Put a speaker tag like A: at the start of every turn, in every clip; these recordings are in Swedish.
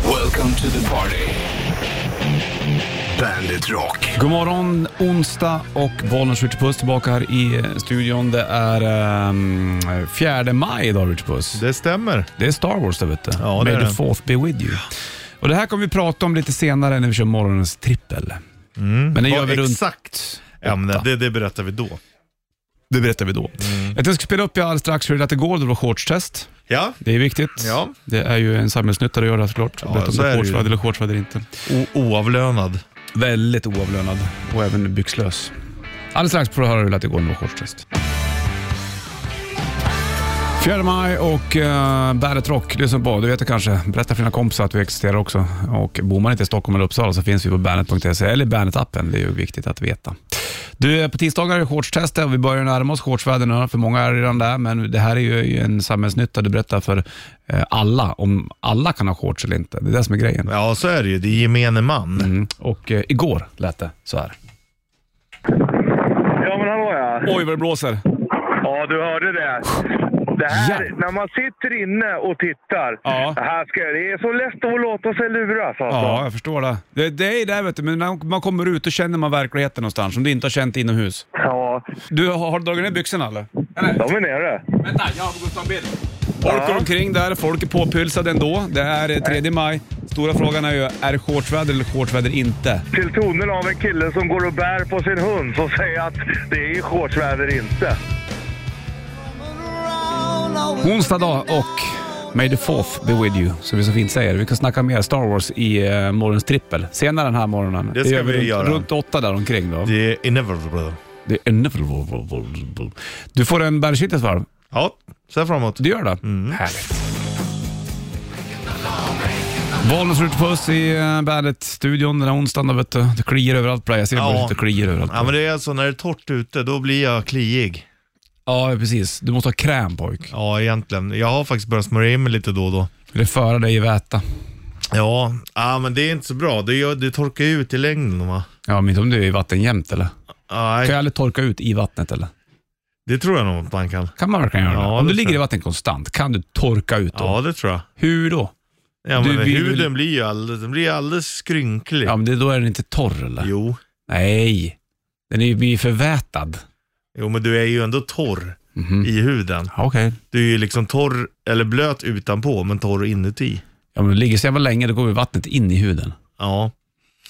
A: Welcome to the party. Bandit Rock.
B: God morgon onsdag och Bollnäs Richard Puss tillbaka här i eh, studion. Det är ehm, 4 maj idag Richard Puss.
C: Det stämmer.
B: Det är Star Wars där vet du.
C: Ja, det
B: May
C: är
B: the
C: det.
B: fourth be with you. Och det här kommer vi prata om lite senare när vi kör morgonens trippel. Men det gör
C: Vad
B: vi runt...
C: Mm. exakt ämne,
B: åtta.
C: det, det berättar vi då.
B: Det berättar vi då.
C: Mm.
B: Jag tänkte spela upp jag alldeles strax hur det lät igår. Det var shortstest.
C: Ja,
B: Det är viktigt.
C: Ja. Det
B: Det är ju en samhällsnytta att göra det såklart.
C: Ja,
B: Berätta om
C: så
B: det
C: är
B: är
C: det ju.
B: shortsväder eller shortsväder inte.
C: o- oavlönad.
B: Väldigt oavlönad och även byxlös. Alldeles strax får du höra hur det lät igår när det var shortstest. 4 maj och uh, Bandet Rock lyssnar på. Du vet det kanske. Berätta för dina kompisar att vi existerar också. Och bor man inte i Stockholm eller Uppsala så finns vi på bandet.se E eller i Bandet-appen. Det är ju viktigt att veta. Du, eh, på tisdagar är det shortstest och vi börjar närma oss shortsväder nu. För många är redan där, men det här är ju en samhällsnytta. Du berättar för eh, alla om alla kan ha shorts eller inte. Det är det som är grejen.
C: Ja, så är det ju. Det är gemene man.
B: Mm. Och eh, igår lät det så här.
D: Ja, men hallå ja.
B: Oj, vad det blåser.
D: Ja, du hörde det. Det här,
B: Ja.
D: när man sitter inne och tittar.
B: Ja.
D: Det, här ska, det är så lätt att låta sig luras alltså.
B: Ja, jag förstår det. Det, det är det, vet du. Men när man kommer ut, då känner man verkligheten någonstans som du inte har känt inomhus.
D: Ja.
B: Du, har, har du dragit ner byxorna eller?
D: De är nere.
B: Vänta, jag har gått en bild. Folk går omkring där, folk är påpylsade ändå. Det här är 3 maj. Stora frågan är ju, är det shortsväder eller shortsväder inte?
D: Till tonen av en kille som går och bär på sin hund som säger att det är shortsväder inte.
B: Onsdag dag och May the fourth be with you, som vi så fint säger. Vi kan snacka mer Star Wars i eh, morgons trippel senare den här morgonen.
C: Det ska
B: gör
C: vi
B: runt,
C: göra.
B: Runt åtta där omkring då.
C: Det är inevitable.
B: Det är ännu... Du får en bärskittes varv.
C: Ja, se framåt.
B: Du gör det?
C: Mm.
B: Härligt. Bollnäs Rute Puss i eh, Bandet-studion den här onsdagen. då, Vet du. Det kliar överallt på dig. Jag ser
C: Ja.
B: ja. det kliar överallt.
C: Ja, men det är alltså när det är torrt ute, då blir jag kliig.
B: Ja, precis. Du måste ha kräm pojk.
C: Ja, egentligen. Jag har faktiskt börjat smörja in mig lite då och då.
B: Det föra dig i väta.
C: Ja, ja men det är inte så bra. Det, gör, det torkar ju ut i längden va?
B: Ja, men inte om du är i vatten jämt eller? Kan jag
C: Nej,
B: aldrig torka ut i vattnet eller?
C: det tror jag nog att man kan.
B: Kan man verkligen göra
C: Ja,
B: det?
C: det
B: Om du
C: tror
B: ligger i
C: jag.
B: vatten konstant, kan du torka ut då?
C: Ja, det tror jag.
B: Hur då?
C: Ja,
B: Du
C: men
B: vill väl-
C: huden blir ju alldeles, den blir alldeles skrynklig.
B: Ja, men det, då är den inte torr eller?
C: Jo.
B: Nej, den är ju blir ju förvätad.
C: jo, men du är ju ändå torr
B: Mhm.
C: i huden.
B: Ja, Okej.
C: Du är ju liksom torr, eller blöt utanpå, men torr inuti.
B: Ja, men du ligger så jävla länge, då går ju vattnet in i huden.
C: Ja,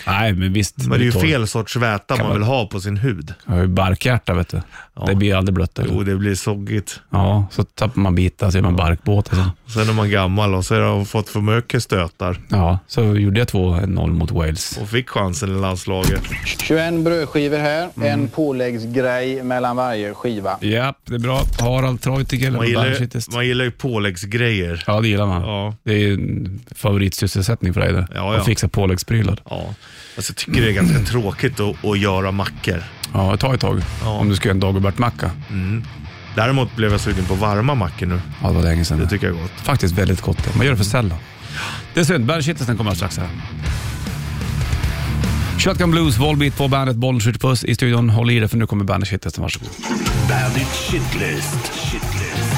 B: Nej, men visst.
C: men det är ju
B: torr.
C: fel sorts väta
B: Kan
C: man
B: man-
C: vill ha på sin hud.
B: Jag har ju barkhjärta vet du.
C: Ja.
B: Det blir ju aldrig blött.
C: Jo,
B: eller?
C: det blir soggigt.
B: Ja, så tappar man bitar så är man barkbåt. alltså. och så.
C: Sen är man gammal och så har man fått för mycket stötar
B: Ja, så gjorde jag 2-0 mot Wales.
C: och fick chansen i landslaget.
E: 21 brödskivor här, en påläggsgrej mellan varje skiva.
B: Ja, det är bra. Harald Treutiger,
C: Man gillar, ju-
B: Bernshittest.
C: man gillar ju påläggsgrejer.
B: Ja, det gillar man.
C: Ja.
B: Det är ju en favoritsysselsättning för dig det.
C: Ja, ja.
B: Att fixa påläggsprylar.
C: Ja. Alltså, jag tycker det är ganska tråkigt att, att göra mackor.
B: Ja, det tar ett tag.
C: Ja.
B: Om du ska göra en Dagobert-macka.
C: Däremot blev jag sugen på varma mackor nu.
B: Ja, det var länge sedan.
C: Det tycker jag är gott.
B: Faktiskt väldigt gott. det. Man gör det för sällan. Det är synd. Bandshittelsen kommer alldeles strax här. Shotgun Blues, Volbeat på bandet, bollen skjuter puss i studion. Håll i dig för nu kommer bandshittelsen. Varsågod.
A: Bandit Shitlist. Shitlist.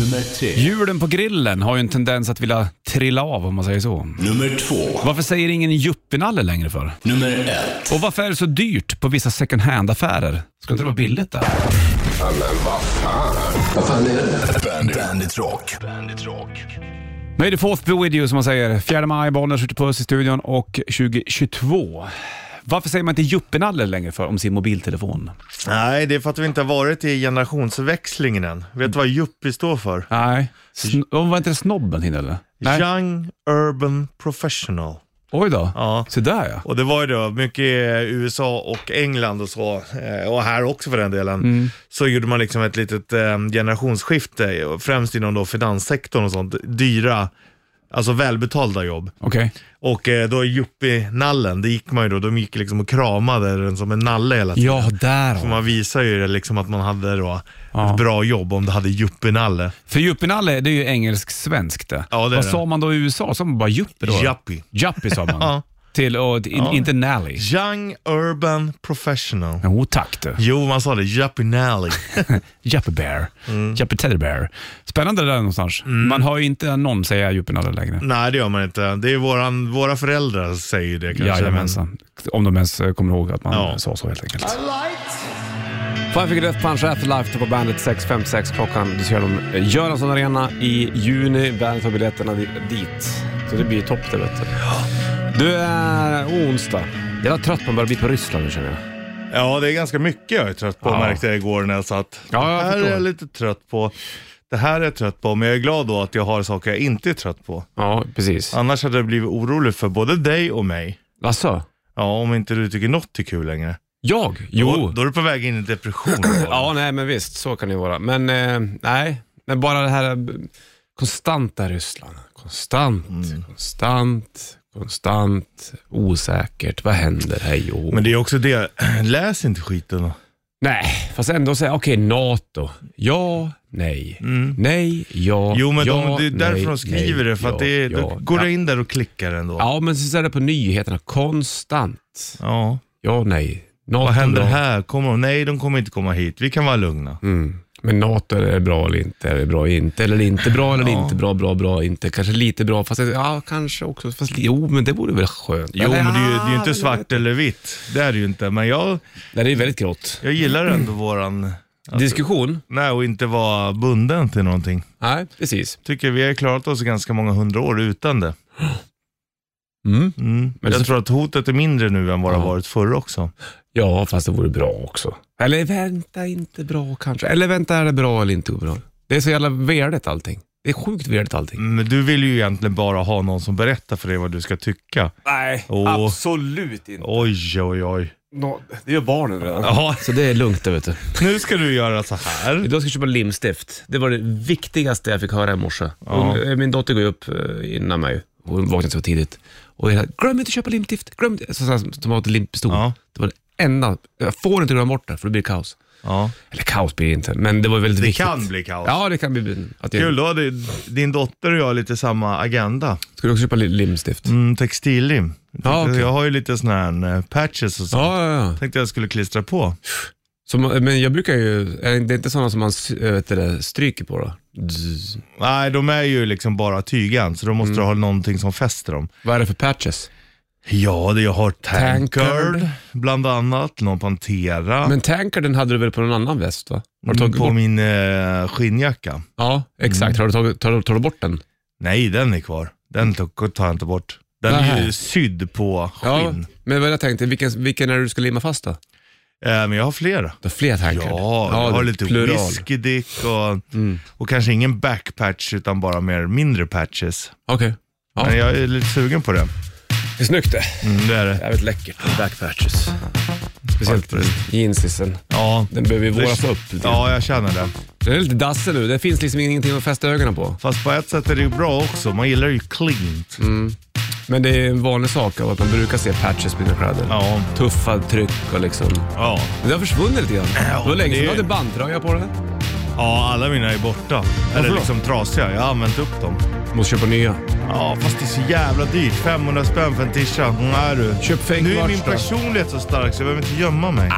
A: Nummer tre.
B: Hjulen på grillen har ju en tendens att vilja trilla av om man säger så.
A: Nummer två.
B: Varför säger ingen juppinalle längre för?
A: Nummer ett.
B: Och varför är det så dyrt på vissa second hand-affärer? Ska inte det vara billigt där?
A: Bandit, Bandit Rock. Bandit Rock.
B: May the fourth be with you som man säger. 4 maj, Bollnäs skjuter puss i studion och 2022. Varför säger man inte juppinalle längre för om sin mobiltelefon?
C: Nej, det är för att vi inte har varit i generationsväxlingen än. Vet du vad yuppie står för?
B: Nej. Sn- var inte det snobben hin eller? Nej.
C: Young Urban Professional.
B: Oj då.
C: Ja.
B: Så där ja.
C: Och det var ju då mycket i USA och England och så, eh, och här också för den delen,
B: Mm.
C: så gjorde man liksom ett litet eh, generationsskifte, och främst inom då finanssektorn och sånt, dyra, alltså välbetalda jobb.
B: Okej.
C: Och eh, då yuppie-nallen, det gick man ju då, de gick liksom och kramade den som en nalle hela tiden.
B: Ja, där
C: Så
B: har
C: Man visar ju det liksom att man hade då
B: Ja.
C: ett bra jobb om du hade yuppie-nalle.
B: För juppinalle, det är ju engelsk-svenskt det.
C: Ja, det är
B: Vad
C: det.
B: sa man då i USA? Sa man bara juppe då?
C: Yuppie.
B: Juppie sa man.
C: Ja.
F: till, och, in, inte Nally.
C: Young Urban Professional.
F: Jo tack du.
C: Jo, man sa det. Japinelli.
F: Juppie Bear.
C: Mm.
F: Juppie Teddy Bear. Spännande det där någonstans. Man hör ju inte någon säga Juppie längre.
C: Nej, det gör man inte. Det är våran, våra föräldrar säger det kanske. men-
F: Jajamensan. Om de ens eh, kommer ihåg att man
C: Ja.
F: sa så helt enkelt.
B: Five Finger Death Punch Afterlife på Bandet 6.56 klockan. Du ser dem eh, Göransson Arena i juni. Bandet har biljetterna di- dit. Så det blir ju topp det vet du. Du, är onsdag. Jag är trött på att börja bli på Ryssland nu känner jag.
C: Ja, det är ganska mycket jag är trött på
B: Ja.
C: märkte jag igår när jag satt.
B: Ja, jag
C: det här
B: förstår.
C: är jag lite trött på. Det här är jag trött på, men jag är glad då att jag har saker jag inte är trött på.
B: Ja, precis.
C: Annars hade jag blivit orolig för både dig och mig.
B: Alltså,
C: Ja, om inte du tycker något är kul längre.
B: Jag?
C: Då,
B: Jo.
C: då är du på väg in i depression.
B: Ja, nej men visst, så kan det ju vara. Men eh, nej, men bara det här eh, konstanta Ryssland. Konstant,
C: Mm.
B: konstant, konstant, osäkert. Vad händer? Hej och hå.
C: Men det är också det, läs inte skiten. då.
B: Nej, fast ändå säga, okej, NATO. Ja, nej. Nej, ja,
C: Mm. Jo, men
B: ja,
C: de, det är därför
B: nej,
C: de
B: nej,
C: skriver det, för att
B: ja,
C: det är,
B: ja,
C: då går
B: ja.
C: du in där och klickar ändå. Ja.
B: Ja, men så är det på nyheterna konstant. Ja, nej. NATO,
C: Vad händer
B: ja.
C: här? Kommer de? Nej, de kommer inte komma hit. Vi kan vara lugna.
B: Mm. Men NATO, är det bra eller inte? Är det bra, inte? Eller inte bra, eller inte bra, bra, bra, inte? Kanske lite bra, fast ja, kanske också. Fast, li- jo, men det vore väl skönt?
C: Jo,
B: Eller,
C: men det är ju, det är ju
B: ja,
C: inte svart eller vitt. Det är det ju inte. Men jag,
B: Nej, det är väldigt grått.
C: jag gillar ändå våran... alltså,
B: Diskussion?
C: Nej, och inte vara bunden till någonting.
B: Nej, precis.
C: Tycker vi har klarat oss i ganska många hundra år utan det.
B: Mm.
C: Mm.
B: Men
C: Men
B: så-
C: jag tror att hotet är mindre nu än vad det har
B: Ja.
C: varit förr också.
B: Ja, fast det vore bra också. Eller vänta, inte bra kanske. Eller vänta, är det bra eller inte bra? Det är så jävla värdigt allting. Det är sjukt värdigt allting.
C: Men du vill ju egentligen bara ha någon som berättar för dig vad du ska tycka.
B: Nej,
C: Åh.
B: absolut inte.
C: Oj, oj, oj.
B: det gör barnen redan.
C: Ja,
B: Så det är lugnt det, vet du.
C: nu ska du göra så här.
B: Idag ska jag köpa limstift. Det var det viktigaste jag fick höra i morse. Hon- Min dotter går ju upp eh, innan mig. Hon vaknade så tidigt. Och jag sa, glöm inte att köpa limstift. Glöm inte. Så, så, så, som har ett limpistol.
C: Ja.
B: Det var det enda. Jag får inte glömma bort det, för då blir det kaos.
C: Ja.
B: Eller kaos blir det inte, men det var väldigt
C: Det
B: viktigt.
C: kan bli kaos.
B: Ja, det kan bli. Att jag,
C: Kul, då hade din dotter och jag lite samma agenda.
B: Ska du också köpa li- limstift?
C: Mm, textillim.
B: Ja, okej.
C: Jag har ju lite sådana här eh, patches och så.
B: Ja, ja, ja.
C: Tänkte jag skulle klistra på.
B: Så, man- men jag brukar ju, är det inte sådana som man sy- vet du det, stryker på då? Zzz.
C: Nej, de är ju liksom bara tygen, så då måste
B: Mm.
C: du ha någonting som fäster dem.
B: Vad är det för patches?
C: Ja, det jag har Tankard,
B: Tankard.
C: bland annat, någon Pantera,
B: Men tanker den hade du väl på någon annan väst va? Har du
C: mm,
B: tagit
C: på
B: bort?
C: min eh, skinnjacka.
B: Ja, exakt.
C: Mm.
B: Har du tagit, tar, du- tar du bort den?
C: Nej, den är kvar. Den to- tar jag inte bort. Den är
B: Nähä.
C: ju sydd på skinn.
B: Men vad jag tänkte, vilken, vilken är det du ska limma fast då?
C: Eh, men jag har flera.
B: Du har fler tankar?
C: Ja, jag har lite whiskydick och,
B: Mm.
C: och kanske ingen backpatch utan bara mer mindre patches.
B: Okej. Ja.
C: Men jag är lite sugen på det.
B: Det är snyggt det.
C: Mm, det är det.
B: Jävligt läckert. Backpatches. Speciellt jeansisen.
C: Ja.
B: Den behöver ju våras
C: Det-
B: upp lite.
C: Ja, jag känner det.
B: Den är lite dassig nu. Det finns liksom ingenting att fästa ögonen på.
C: Fast på ett sätt är det ju bra också. Man gillar ju cleant.
B: Mm. Men det är en vanlig sak av att man brukar se patches på dina kläder.
C: Ja.
B: Tuffa tryck och liksom.
C: Ja.
B: Men det har försvunnit lite grann. Det var länge
C: det-
B: sedan du hade bandtröja på dig.
C: ja, alla mina är borta. Eller
B: då?
C: liksom trasiga. Jag har använt upp dem.
B: Måste köpa nya.
C: Ja, fast det är så jävla dyrt. 500 spänn för en tisha. Nej du.
B: Köp fake
C: Nu är min
B: merch då. Ah.
C: personlighet så stark så jag behöver inte gömma mig.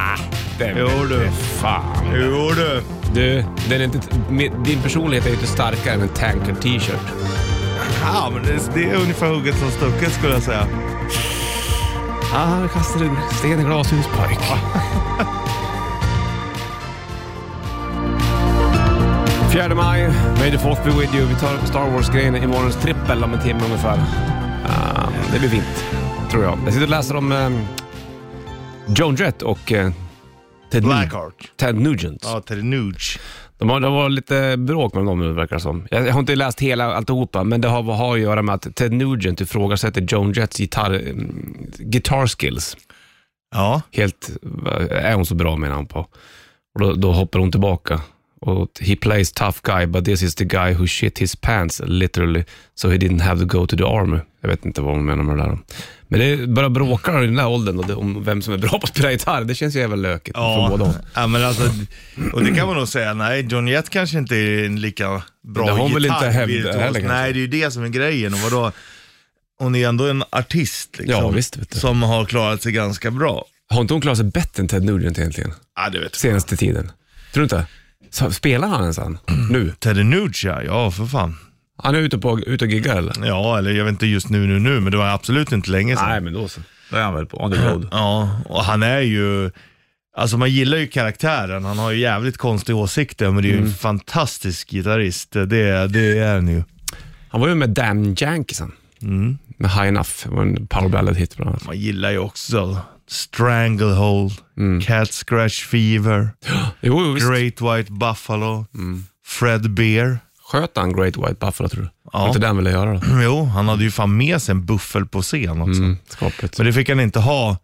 B: Den
C: Jo, du.
B: vete Fan.
C: Jo du.
B: Du, den är inte, med- din personlighet är ju inte starkare än en tanker t-shirt.
C: Ja, men det, det är ungefär hugget som stucket skulle jag säga.
B: Ah, kastar du sten i glashus pojk. Fjärde maj, May the fourth be with you. Vi tar upp Star Wars-grejen i morgons trippel om en timme ungefär. Ah, det blir fint, tror jag. Jag sitter och läser om um, Joan Jett och eh, Ted, Nu-
C: Blackheart.
B: Ted Nugent.
C: Ja, Teddy Nuge.
B: De har, det har varit lite bråk mellan dem nu verkar det som. Jag har inte läst hela alltihopa, men det har, har att göra med att Ted Nugent ifrågasätter Joan Jetts gitarr, mm, guitar skills.
C: Ja.
B: Helt, eh, är hon så bra menar han på. Och då, då hoppar hon tillbaka. Och he plays tough guy, but this is the guy who shit his pants literally, so he didn't have to go to the army. Jag vet inte vad hon menar med det där. Men det börjar bråka i den här åldern då, det- om vem som är bra på att spela gitarr. Det känns ju jävla lökigt för båda. håll.
C: ja, men alltså, och det kan man nog säga, nej, John Jett kanske inte är en lika bra
B: Det har hon väl inte hävdat
C: gitarrvirtuos.
B: heller kanske.
C: Nej, det är ju det som är grejen. Och vadå? hon är ändå en artist liksom,
B: Ja, visst, vet du.
C: som har klarat sig ganska bra.
B: Har inte hon klarat sig bättre än Ted Nugent egentligen?
C: Ja, det vet jag.
B: Senaste tiden. Tror du inte? Så, spelar han ens han?
C: Mm.
B: Nu?
C: Teddy Nugent, ja. ja för fan.
B: Han är ute, på, ute och giggar eller?
C: Ja, eller jag vet inte just nu, nu, nu, men det var absolut inte länge sedan.
B: men då så. Då är han väl på on the road.
C: Ja, och han är ju... Alltså man gillar ju karaktären, han har ju jävligt konstiga åsikter, men det är ju
B: Mm.
C: en fantastisk gitarrist. Det, det är han ju.
B: Han var ju med Dan Jankison.
C: Mm.
B: Med High Enough. Det var en power ballad hit bland annat.
C: Man gillar ju också Stranglehold, Cat Scratch Fever,
B: Jo, jo Mm. visst. Mm.
C: Great White Buffalo, Fred Bear.
B: Sköt han Great White Buffalo tror du?
C: Ja. Mm.
B: Var inte det han ville göra då?
C: Jo, han hade ju fan med sig en buffel på scen också.
B: Mm, skapligt.
C: Men det fick han inte ha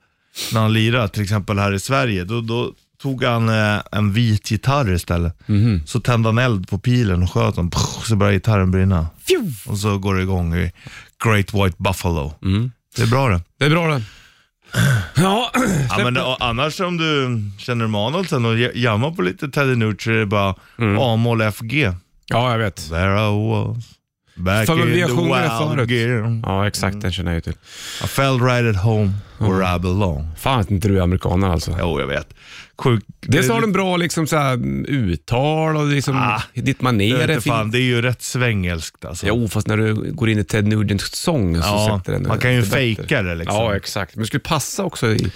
C: när han lirade, till exempel här i Sverige. Då, då tog han eh, en vit gitarr istället.
B: Mhm.
C: Så tände han eld på pilen och sköt den, Pff, så började gitarren brinna. Och så går det igång i Great White Buffalo.
B: Mm.
C: Det är bra det.
B: Det är bra det. Ja,
C: Ja, men, och, annars om du känner Manuelsen och ja- jammar på lite Teddy Nugent så är det bara
B: Mm.
C: A-moll FG.
B: ja jag vet.
C: There I was. Back
B: Fan, men
C: in
B: vi har
C: the
B: sjungit det
C: wild
B: förut.
C: gear.
B: Ja,
C: Mm.
B: exakt. Den känner jag ju till.
C: I felt right at home where I belong.
B: Fan att inte du är amerikanare alltså.
C: Jo, jag vet. Sjuk.
B: Dels har de bra liksom, så här, mm, uttal och liksom,
C: Ah,
B: ditt manér
C: Jag vet
B: är
C: inte fan,
B: fint.
C: det är ju rätt svängelskt alltså.
B: Jo, fast när du går in i Ted Nugents sång så
C: Ja,
B: sätter den
C: man kan ju
B: lite bättre.
C: fejka det liksom.
B: Ja, exakt. Men det skulle passa också i...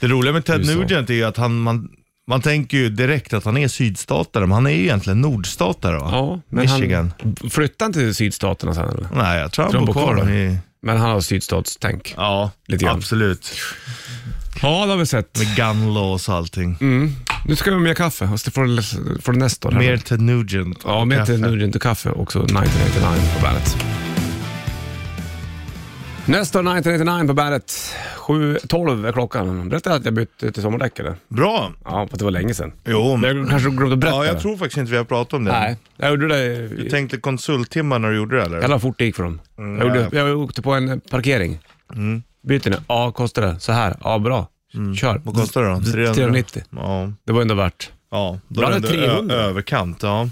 C: Det roliga med Ted
B: USA.
C: Nugent är ju att han, man, man tänker ju direkt att han är sydstatare, men han är ju egentligen nordstatare va?
B: Ja, men
C: Michigan.
B: Han, flytta inte till sydstaterna sen eller?
C: Nej, jag tror han bor kvar
B: där.
C: i...
B: Men han har sydstatstänk.
C: Ja,
B: Lite grann.
C: absolut.
B: Ja, det har vi sett.
C: Med gun laws och allting.
B: Mm. Nu ska vi ha mer kaffe. Och så får du, får du nästa år. här.
C: Mer Ted Nugent.
B: Ja, mer
C: Kaffe.
B: till Nugent och kaffe. Också 1989 på bandet. Nästa år 1989 på bandet. 7.12 är klockan. Berättade jag att jag bytte till sommardäck eller?
C: Bra.
B: Ja, för att det var länge sedan.
C: Jo,
B: Men Jag kanske glömde berätta
C: ja,
B: det.
C: jag tror faktiskt inte vi har pratat om det.
B: Nej, jag gjorde det. i-
C: Du tänkte konsulttimmar när du gjorde det eller?
B: Jävlar vad fort det gick för dem.
C: Mm,
B: jag, gjorde, jag åkte på en parkering. Byter nu. Ja, kostar det. Så här. Ja, bra. Kör.
C: Mm. Vad kostar det då? 300?
B: 390.
C: Ja,
B: Det var ändå värt.
C: ja. Då
B: Då
C: är det
B: hade
C: ändå
B: 300.
C: ö- överkant. Ja.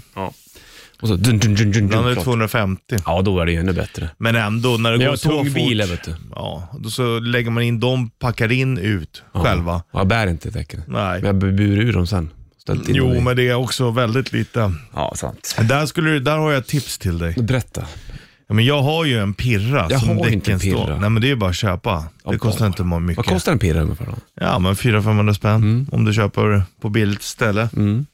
B: Och så dun, dun, dun, dun,
C: Ibland är
B: dun,
C: det
B: klart.
C: 250.
B: Ja, då är det ju ännu bättre.
C: Men ändå, när det
B: Men jag
C: går
B: har
C: så
B: tung
C: fort.
B: bil, vet du.
C: Ja, då så lägger man in dem, packar in, ut själva.
B: Ja, jag bär inte däcken.
C: Nej.
B: Men jag bur ur dem sen. Ställt in dem
C: Jo,
B: i-
C: men det är också väldigt lite.
B: Ja, sant.
C: Där, skulle du, där har jag ett tips till dig.
B: Berätta.
C: Ja, men jag har ju en pirra
B: Jag
C: som
B: har inte
C: däcken
B: en pirra.
C: står. Nej, men det är ju bara att köpa.
B: Ja,
C: det kostar
B: bara.
C: inte ma- mycket.
B: Vad kostar Mm. en pirre ungefär då?
C: Ja, men 400-500 spänn om du köper på billigt ställe.
B: Mm.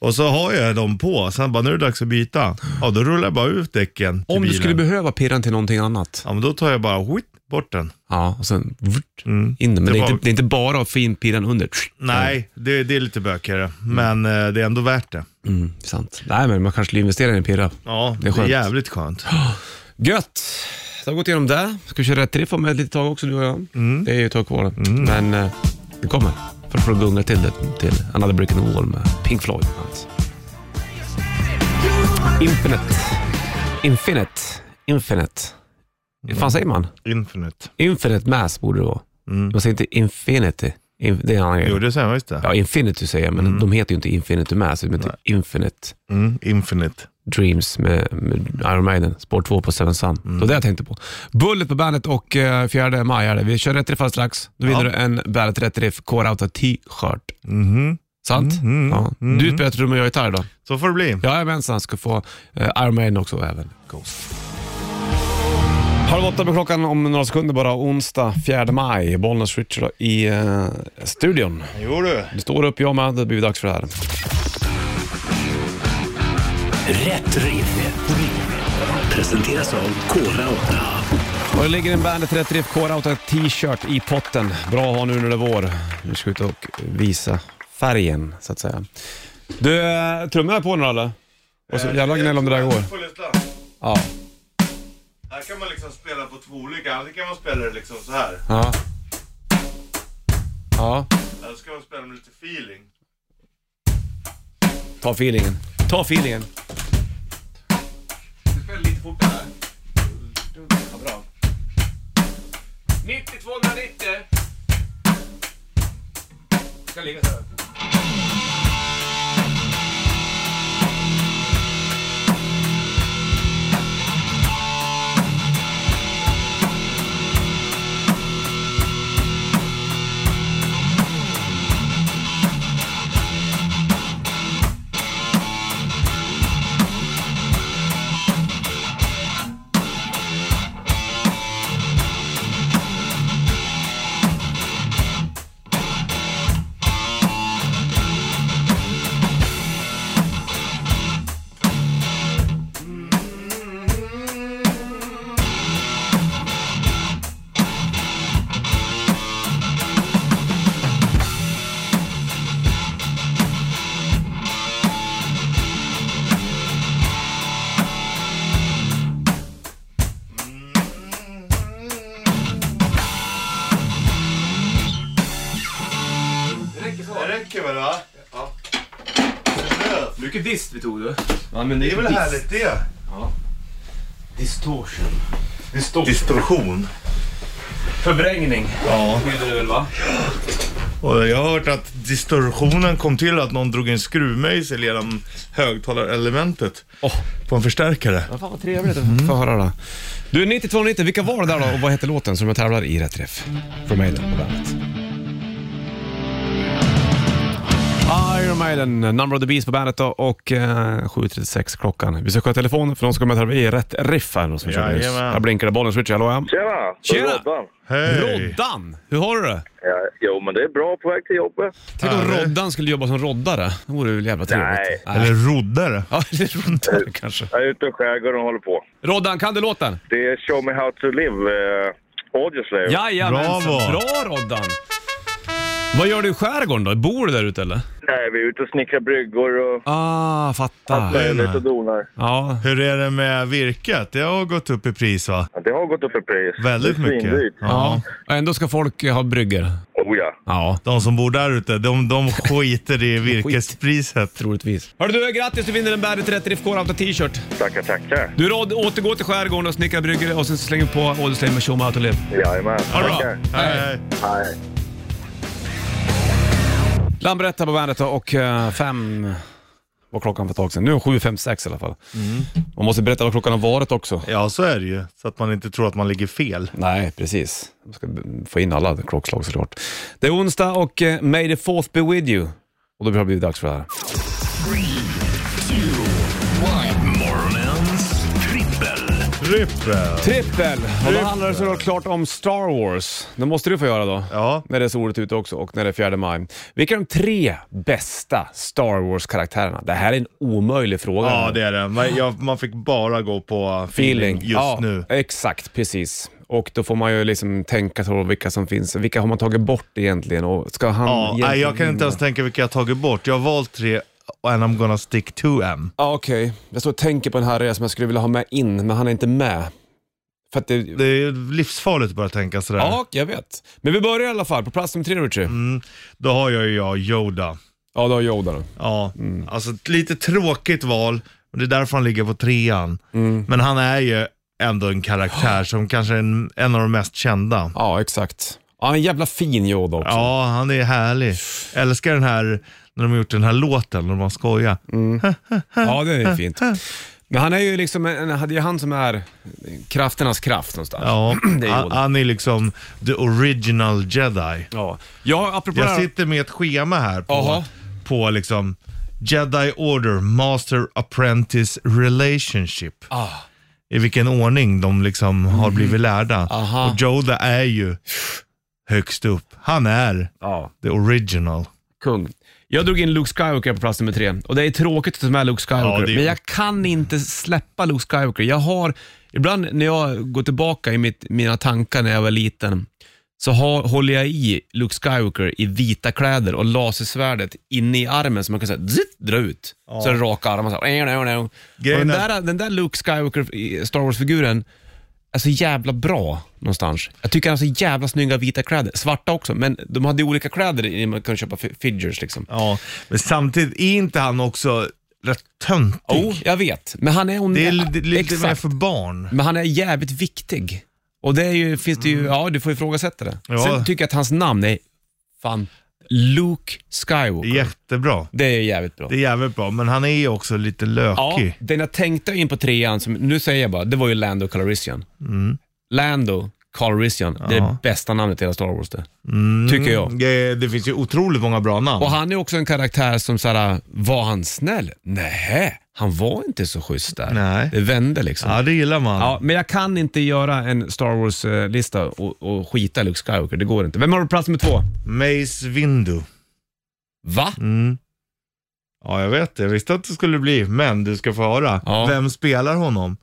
C: Och så har jag dem på, sen bara nu är det dags att byta. Ja, då rullar jag bara ut däcken till
B: Om du
C: bilen.
B: skulle behöva pirran till någonting annat.
C: Ja, men då tar jag bara whitt, bort den.
B: Ja, och sen vrt,
C: Mm.
B: in den. Men
C: Det
B: det är,
C: var-
B: inte, det är inte bara att få in pirran under.
C: Nej, det, det är lite bökigare, men eh, det är ändå värt det.
B: Mm, sant. Nej, men man kanske skulle investera i en pirra.
C: Ja, det
B: Det
C: är,
B: är skönt.
C: jävligt skönt.
B: Gött! Så har vi gått igenom det. Ska vi köra ett riff om ett litet tag också du och jag?
C: Mm.
B: Det är ju ett tag kvar. Men eh, det kommer. För att få gunga till det till Another Brick in the Wall med Pink Floyd. Alltså. Infinite. Infinite. Infinite.
C: Mm.
B: Hur fan säger man?
C: Infinite.
B: Infinite mass borde det vara. Man säger inte infinity. In, det är en annan
C: Mm. Jo,
B: grej.
C: det Mm. säger jag visst det.
B: Ja, infinity säger jag, men de heter ju inte infinity mass, utan typ infinite.
C: Mm, infinite.
B: Dreams med, med Iron Maiden, spår 2 på Seven Sun. Det var det jag tänkte på. Bullet på bandet och eh, 4 maj är det. Vi kör rätt riff alldeles strax. Då vinner
C: Ja.
B: du en Bandet Rätt Riff Core Outta T-shirt. Sant? Ja. Du spelar trummor och jag gitarr idag.
C: Så får det bli.
B: Jajamensan, ska få eh, Iron Maiden också och även Ghost. Halv åtta på klockan om några sekunder bara, onsdag 4 maj. Bollnäs Richard i eh, studion.
C: Jo du.
B: Det står upp jag med, det blir dags för det här.
A: Rätt riff. Presenteras av Kora 8.
B: Och det ligger en Bandet Rätt Riff K-Rauta t-shirt i potten. Bra att ha nu när det är vår. Nu ska vi ut och visa färgen, så att säga. Du, eh, trummorna är på nu eller? Och så
C: Eh,
B: jävla gnäll om det där går. Ja.
C: Här kan man liksom spela på två olika. Antingen kan man spela det liksom så här.
B: Ja. Ja.
C: Eller så kan man spela med lite feeling.
B: Ta feelingen. Ta feelingen. lite fortare. Ja, bra. 90 290. Ska ligga så här.
C: ska vi va? Ja.
G: Mycket dist vi tog du.
B: Ja, men
C: Det är väl härligt det?
G: Distortion.
C: Distorsion.
G: Förvrängning.
C: Ja.
G: Heter det väl va?
C: Och jag har hört att distorsionen kom till att någon drog en skruvmejsel genom högtalarelementet på en förstärkare.
B: Fan vad trevligt att få höra då. Du, 9290, vilka var det där då och vad hette låten som jag tävlar i Rätt Träff? Från Maiden på bandet. Iron Maiden, Number of the Beast på bandet då och eh, 7.36 klockan. Vi ska kolla telefonen för de ska med tävla i Rätt Riff här nu som vi körde nyss.
C: Jajamän.
B: Här blinkar det bollen switch, hallå ja.
H: Tjena!
B: Tjena!
H: Roddan.
C: Hej!
B: Roddan! Hur har du det?
H: Ja, jo, men det är bra på väg till jobbet.
B: Tänk om
C: Härligt.
B: Roddan skulle jobba som roddare. Det vore väl jävla trevligt. Nej.
C: Eller roddare.
B: Ja, eller roddare kanske.
H: Jag är ute i skärgården och håller på.
B: Roddan, kan du låten?
H: Det är Show Me How To Live, eh, Audioslayer.
B: Jajamensan,
C: Bravo.
B: bra Roddan! Vad gör du i skärgården då? Bor du där ute eller?
H: Nej, vi är ute och snickrar bryggor och
B: Ah, fattar.
H: är lite och donar.
B: Ja.
C: Hur är det med virket? Det har gått upp i pris va?
H: Ja, det har gått upp i pris.
C: Väldigt
H: Det är
C: mycket.
H: svindyrt.
B: ja. Och ändå ska folk eh, ha brygger.
H: Oh ja.
B: Ja,
C: De som bor där ute, de, de skiter i virkespriset.
B: troligtvis. Hörru du, grattis! Du vinner en Bandet 30 FK Rauta t-shirt.
H: Tackar, tackar.
B: Du Rod, återgå till skärgården och snickra bryggor och sen slänger vi på Ålderstein med Tjomme Autoliv.
H: Jajamän.
C: Ha det bra.
H: Tackar.
B: Eh,
C: Hej, hej.
H: Hej.
B: Lambretta på bandet då och eh, fem var klockan för ett tag sedan. Nu är 7.56 i alla fall. Man måste berätta vad klockan har varit också.
C: Ja, så är det ju. Så att man inte tror att man ligger fel.
B: Nej, precis. Man ska b- få in alla klockslag såklart. Det är onsdag och eh, May the fourth be with you. Och då har det blivit dags för det här.
A: Morgonens trippel.
C: Trippel.
B: Trippel! Och då handlar det såklart om Star Wars. Det måste du få göra då.
C: Ja.
B: När det är soligt ute också och när det är fjärde maj. Vilka är de tre bästa Star Wars-karaktärerna? Det här är en omöjlig fråga.
C: Ja, det är det. Man, jag, man fick bara gå på feeling,
B: feeling
C: just
B: ja,
C: nu.
B: Exakt, precis. Och då får man ju liksom tänka på vilka som finns. Vilka har man tagit bort egentligen? Och ska han
C: Ja,
B: egentligen...
C: nej, jag kan inte ens tänka vilka jag har tagit bort. Jag har valt tre and I'm gonna stick to em.
B: Ja, okej. Jag står och tänker på en herre som jag skulle vilja ha med in, men han är inte med. För att det...
C: Det är livsfarligt att börja tänka sådär.
B: Ja, jag vet. Men vi börjar i alla fall på plats nummer tre, Richie.
C: Mm. Då har jag ju jag Yoda.
B: Ja, då har Yoda då.
C: Ja, alltså ett lite tråkigt val. Och det är därför han ligger på trean. Men han är ju ändå en karaktär som kanske är en, en av de mest kända.
B: Ja, exakt. Ja, han är en jävla fin Yoda också.
C: Ja, han är härlig. Jag älskar den här, när de har gjort den här låten, när de har skojat.
B: Mm. Ja, det är fint. Men han är ju liksom, en, en- det är han som är krafternas kraft någonstans.
C: Ja,
B: Det är
C: han,
B: Yoda.
C: han är liksom the original jedi.
B: Ja, ja apropå det
C: Jag
B: här-
C: sitter med ett schema här på,
B: Jaha.
C: på liksom Jedi Order, Master Apprentice Relationship.
B: Ah.
C: I vilken ordning de liksom har blivit lärda.
B: Mm. Aha.
C: Och Yoda är ju högst upp. Han är
B: Ja,
C: the original.
B: kung. Jag drog in Luke Skywalker på plats nummer tre och det är tråkigt att ta med Luke
C: Ja,
B: Skywalker,
C: det är-
B: men jag kan inte släppa Luke Skywalker. Jag har, ibland när jag går tillbaka i mitt, mina tankar när jag var liten, så har, håller jag i Luke Skywalker i vita kläder och lasersvärdet inne i armen så man kan säga zitt, dra ut. Så är det raka armar så här. "Eo, eo, eo." Och den,
C: Grejen är-
B: där, den där Luke Skywalker, i Star Wars-figuren, är så jävla bra någonstans. Jag tycker han har så jävla snygga vita kläder. Svarta också, men de hade olika kläder i man kunde köpa fi- figures liksom.
C: Ja, men samtidigt är inte han också rätt töntig.
B: Jo, jag vet. Men han är...
C: Det är lite, lite mer
B: exakt.
C: för barn.
B: Men han är jävligt viktig. Och det är ju, finns det ju, ja du får ifrågasätta det.
C: Mm. Ja.
B: Sen tycker jag att hans namn är fan Luke Skywalker.
C: Jättebra.
B: Det är jävligt bra.
C: Det är jävligt bra, men han är ju också lite
B: Ja,
C: lökig.
B: den jag tänkte in på trean, som, nu säger jag bara, det var ju Lando Calrissian.
C: Mm.
B: Lando Calrissian, det är det bästa namnet i hela Star Wars det.
C: Mm.
B: Tycker jag.
C: Det, det finns ju otroligt många bra namn.
B: Och han är också en karaktär som såhär, var han snäll? Nej, han var inte så schysst där.
C: Nej.
B: Det vände liksom.
C: Ja, det gillar man.
B: Ja, men jag kan inte göra en Star Wars-lista och, och skita i Luke Skywalker. Det går inte. Vem har du på plats nummer två?
C: Mace Windu.
B: Va?
C: Mm. Ja, jag vet det. Jag visste att det skulle bli, men du ska få höra.
B: Ja.
C: Vem spelar honom?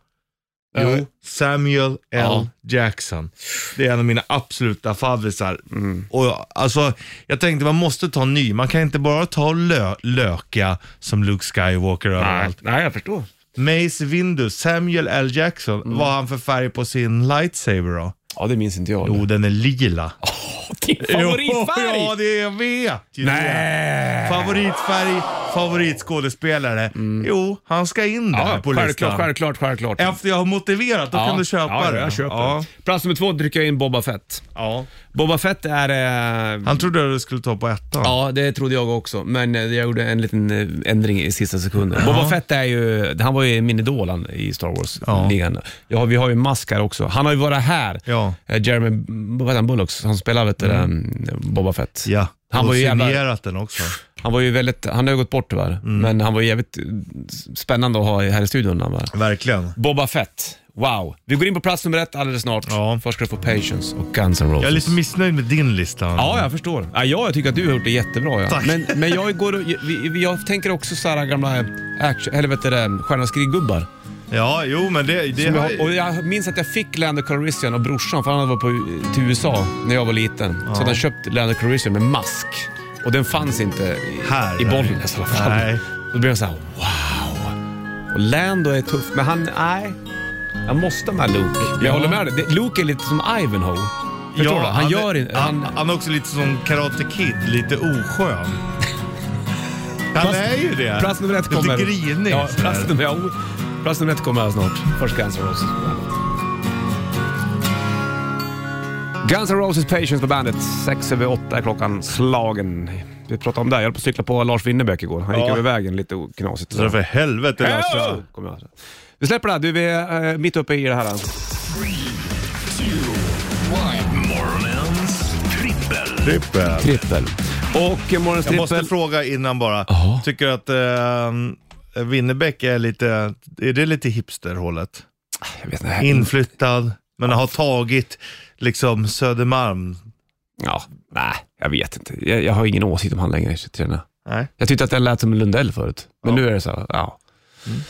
C: Jo, Samuel L.
B: Ja.
C: Jackson. Det är en av mina absoluta favvisar.
B: Mm.
C: Och jag, alltså, jag tänkte man måste ta ny. Man kan inte bara ta lö löka som Luke Skywalker överallt.
B: nej, jag förstår.
C: Mace Windu, Samuel L. Jackson, vad har han för färg på sin lightsaber då?
B: Ja, det minns inte jag.
C: Jo, den är lila.
B: din favoritfärg!
C: Jo, ja, det jag vet ju
F: Nej!
C: det. Favoritfärg, favoritskådespelare. Jo, han ska in där
F: Ja,
C: på listan.
F: självklart, självklart, självklart.
C: Efter jag har motiverat, då kan du köpa
F: ja,
C: det.
F: jag köper
C: ja.
F: det. Plats nummer två drycker jag in Boba Fett.
C: Ja.
B: Boba Fett är... Eh,
C: Han trodde att du skulle ta på ettan.
B: Ja, det trodde jag också, men eh, jag gjorde en liten eh, ändring i sista sekunden. Boba Fett är ju, han var ju min idol han, i Star Wars-ligan. Ja. vi har ju Musk här också. Han har ju varit här.
C: Ja.
B: Eh, Jeremy B- vad heter han, Bullocks, han spelar vet du, det, eh, Boba Fett.
C: Ja.
B: Han var
C: och
B: ju jävla-
C: signerat den också.
B: Han var ju väldigt, han har ju gått bort tyvärr, men han var ju jävligt eh, spännande att ha här i studion. när Han var.
C: Verkligen.
B: Boba Fett, wow. Vi går in på plats nummer ett alldeles snart.
C: Ja.
B: Först ska du få Patience och Guns N' Roses.
C: Jag är lite missnöjd med din lista.
B: Ja, jag förstår. Ja, jag tycker att du har gjort det jättebra. Ja.
C: Tack.
B: Men, men jag, går och, jag, jag tänker också så här gamla eh, action, eller vet du det, Stjärnornas krig-gubbar.
C: Ja, jo men det... det
B: Som jag
C: har...
B: har- Och jag minns att jag fick Land of Calrissian av brorsan, för han var på, eh, till USA när jag var liten. Så hade han köpt Land of Calrissian med mask. Och den fanns inte i,
C: Här,
B: i
C: nej.
B: Bollnäs i alla fall.
C: Nej.
B: Då blev jag så här, wow. Och Lando är tuff, men han, nej. Jag måste med Luke. Men jag håller med dig. Det- Luke är lite som Ivanhoe. Förstår du? Han, gör inte...
C: han, han är också lite som Karate Kid, lite oskön. Han är ju det.
B: Plats nummer ett kommer.
C: Lite grinig.
B: Ja,
C: sådär.
B: plats nummer, ja, plats nummer ett kommer här snart. Först Guns N' Roses. Guns N' Roses Patience på bandet. Sex över åtta är klockan slagen. Vi pratade om det, här. jag höll på att cykla på Lars Winnerbäck igår. Han gick
C: Ja.
B: över vägen lite o- knasigt.
C: Så det är för helvete Lasse.
B: Hello! Kommer jag. Vi släpper det här. Du, vi är eh, mitt uppe i det här.
A: Morgonens trippel.
C: Trippel.
B: Trippel. Och eh, morgonens
C: Jag måste
B: trippel...
C: fråga innan bara. Tycker du att eh, Winnerbäck är lite, är det lite hipsterhållet?
B: Jag vet inte.
C: Inflyttad, men har tagit liksom Södermalm.
B: Ja, nej, jag vet inte. Jag, jag har ingen åsikt om han längre. så jag tror-
C: Nej,
B: Jag tyckte att den lät som Lundell förut, men nu är det så. här, Ja.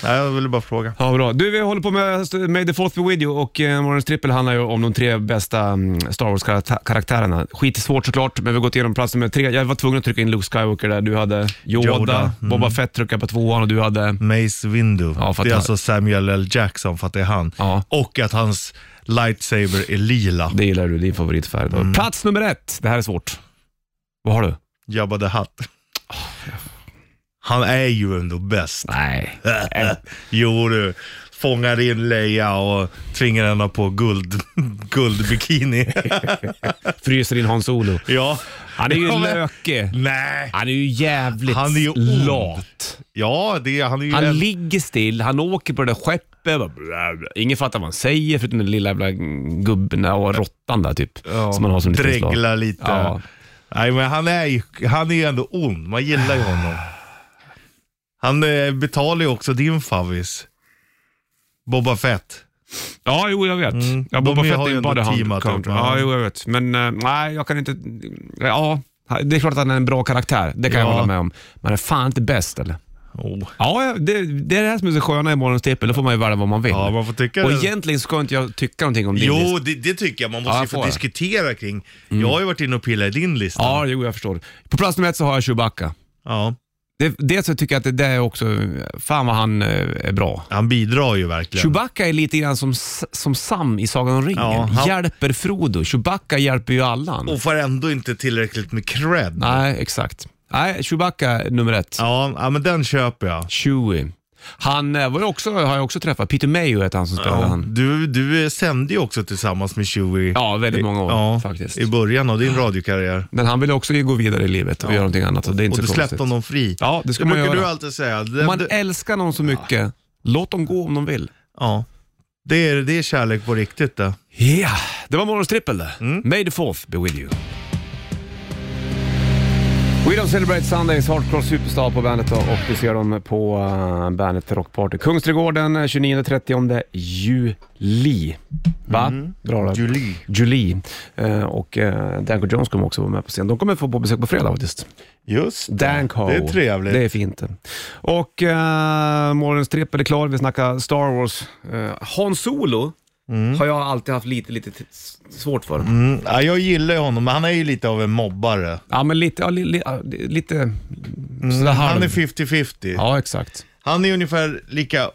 C: Nej jag ville bara fråga.
B: ja, bra. Du, vi håller på med May the Fourth Be With You och eh, morgonens trippel handlar ju om de tre bästa mm, Star Wars-karaktärerna. Skitsvårt såklart, men vi har gått igenom plats nummer tre. Jag var tvungen att trycka in Luke Skywalker där. Du hade Yoda,
C: Yoda, mm.
B: Boba Fett tryckte jag på tvåan och du hade...
C: Mace Windu.
B: Ja, för att
C: det är
B: han-
C: alltså Samuel L. Jackson för att det är han.
B: Ja.
C: Och att hans lightsaber är lila.
B: Det gillar du, din favoritfärg. då. Mm. Plats nummer ett. Det här är svårt. Vad har du?
C: Jabba the Hutt. Han är ju ändå bäst.
B: Nej.
C: jo du, fångar in Leia och tvingar henne på guld, guldbikini.
B: Fryser in Hans Olo.
C: ja.
B: Han är ju
C: Ja, men-
B: lökig.
C: Nej.
B: Han är ju jävligt
C: Han är ju ond.
B: lat.
C: Ja, det, han är ju
B: Han
C: en-
B: ligger still, han åker på det där skeppet. Bara bla bla. Ingen fattar vad han säger förutom den lilla jävla gubben och råttan där typ.
C: ja,
B: som man har som liten slav.
C: dreglar lite.
B: Ja.
C: Nej, men han är ju han är ju ändå ond. Man gillar ju honom. Han eh, betalar ju också din favvis. Boba Fett.
B: ja, jo jag vet.
C: Mm.
B: Ja, Boba
C: De
B: Fett
C: har
B: är
C: ju
B: ju
C: ändå
B: bara
C: teamat
B: hand
C: upp,
B: counter.
C: va?
B: Ja, jo jag vet. Men eh, nej, jag kan inte... Ja, det är klart att han är en bra karaktär. Det kan jag
C: Ja.
B: hålla med om. Men han är fan inte bäst eller?
C: Oh.
B: Ja, det, det är det här som är så sköna i morgons tippel. Då får man ju välja vad man vill.
C: Ja, man får tycka
B: och
C: det.
B: egentligen ska inte jag tycka någonting om din lista.
C: Jo, det, det tycker jag. Man måste
B: Ja,
C: ju
B: får Mm.
C: få
B: jag.
C: diskutera kring. Jag har ju varit inne och pillat i din lista.
B: Ja, jo jag förstår. På plats nummer ett så har jag Chewbacca.
C: Ja.
B: Det, dels så tycker jag att det där är också, fan vad han eh, är bra.
C: Han bidrar ju verkligen.
B: Chewbacca är lite grann som, S- som Sam i Sagan om ringen.
C: Ja, han- Oh.
B: Hjälper Frodo. Chewbacca hjälper ju alla.
C: Och får ändå inte tillräckligt med cred.
B: Nej, exakt. Nej, Chewbacca är nummer ett.
C: Ja, ja, men den köper jag.
B: Chewie. Han eh, var ju också, har jag också träffat. Peter Mayo heter han som spelade
C: Ja,
B: han.
C: du, du eh, sände ju också tillsammans med Chewie.
B: Ja, väldigt många år
C: Ja,
B: faktiskt.
C: I början av din radiokarriär.
B: Men han ville också gå vidare i livet och göra någonting annat. Och det är
C: Och
B: inte
C: du
B: så
C: släppte
B: konstigt.
C: honom fri.
B: Ja, det ska
C: det
B: man
C: brukar
B: göra.
C: du alltid säga. Det,
B: Om man
C: det,
B: älskar någon så mycket, låt dem gå om de vill.
C: ja. det, är, det är kärlek på riktigt det.
B: Ja, det var morgons trippel det. May the fourth be with you. We don't celebrate Sundays, Hardcore Superstar på bandet då, och vi ser dem på uh, bandet Rockparty. Kungsträdgården eh, 29-30 juli. Va? Bra då.
C: Juli.
B: Juli. Eh, och eh, Danko Jones kommer också vara med på scen. De kommer få på besök på fredag faktiskt.
C: Just
B: Danko.
C: Det är trevligt.
B: Det är fint. Och uh, morgonens trippel är klar. Vi snackar Star Wars. Uh, Hans Solo har jag alltid haft lite, lite t- svårt för.
C: Mm, ja, jag gillar ju honom, men han är ju lite av en mobbare.
B: Ja, men lite, ja, li, li, ja, lite sådär halv...
C: Mm, Han är 50-50.
B: Ja, exakt.
C: Han är ungefär lika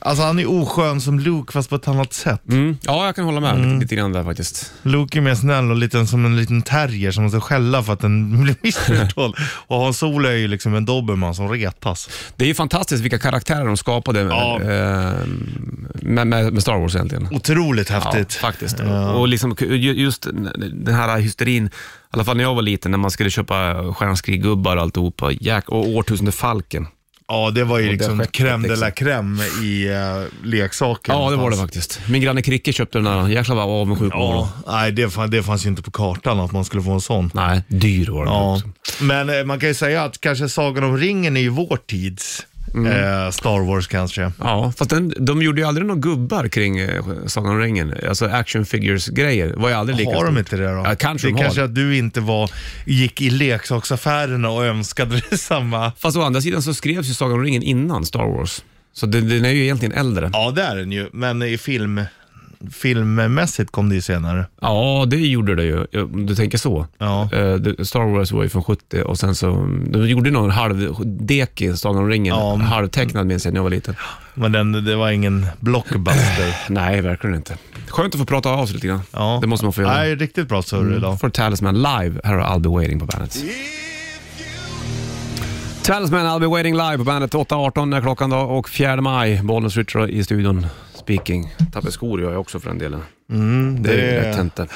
C: Alltså han är oskön som Luke fast på ett annat sätt.
B: Mm. Ja, jag kan hålla med lite, lite grann där faktiskt.
C: Luke är mer snäll och liten som en liten terrier som måste skälla för att den blir missförstådd. och Han Solo är ju liksom en dobermann som retas.
B: Det är ju fantastiskt vilka karaktärer de skapade
C: Ja.
B: eh, med, med, med Star Wars egentligen.
C: Otroligt häftigt.
B: Ja, faktiskt. Och liksom, ju- just den här hysterin, i alla fall när jag var liten, när man skulle köpa Stjärnans gubbar och alltihopa. Jack, och Årtusende falken.
C: Ja, det var ju
B: det
C: liksom
B: skeppet,
C: crème de la
B: liksom.
C: crème i eh, leksaker.
B: Ja, det var det
C: någonstans.
B: faktiskt. Min granne Kricke köpte den där. Jäklar vad avundsjuk man var då.
C: Ja, nej, det, fann, det fanns ju inte på kartan att man skulle få en sån.
B: Nej, liksom. dyr var den
C: Ja.
B: också.
C: Men eh, man kan ju säga att kanske Sagan om ringen är ju vår tids
B: Mm.
C: eh, Star Wars kanske.
B: Ja, fast den, de gjorde ju aldrig några gubbar kring eh, Sagan om ringen. Alltså action figures-grejer var ju aldrig lika
C: Har de
B: stort.
C: inte det då?
B: Ja, kanske
C: det
B: de har.
C: kanske att du inte var, gick i leksaksaffärerna och önskade detsamma.
B: Fast å andra sidan så skrevs ju Sagan om ringen innan Star Wars. Så den, den är ju egentligen äldre.
C: Ja, det är den ju, men i film, filmmässigt kom det ju senare.
B: Ja, det gjorde det ju. Om du tänker så.
C: Ja.
B: Eh, det- Star Wars var ju från 70 och sen så... De gjorde någon halvdekig Sagan om ringen.
C: Ja.
B: Halvtecknad minns jag när jag var liten.
C: Men den, det var ingen blockbuster.
B: Nej, verkligen inte. Skönt att få prata av sig lite grann.
C: Ja.
B: Det måste man få göra. Mm.
C: Nej, riktigt bra surr idag.
B: för Talisman live. Här har I'll be waiting på bandet. Talisman, I'll be waiting live på bandet. 8.18 är klockan då och 4 maj. Bollnäs Richard i studion. Speaking. Tappade skor gör jag också för den delen.
C: Mm,
B: det, är rätt hänt det.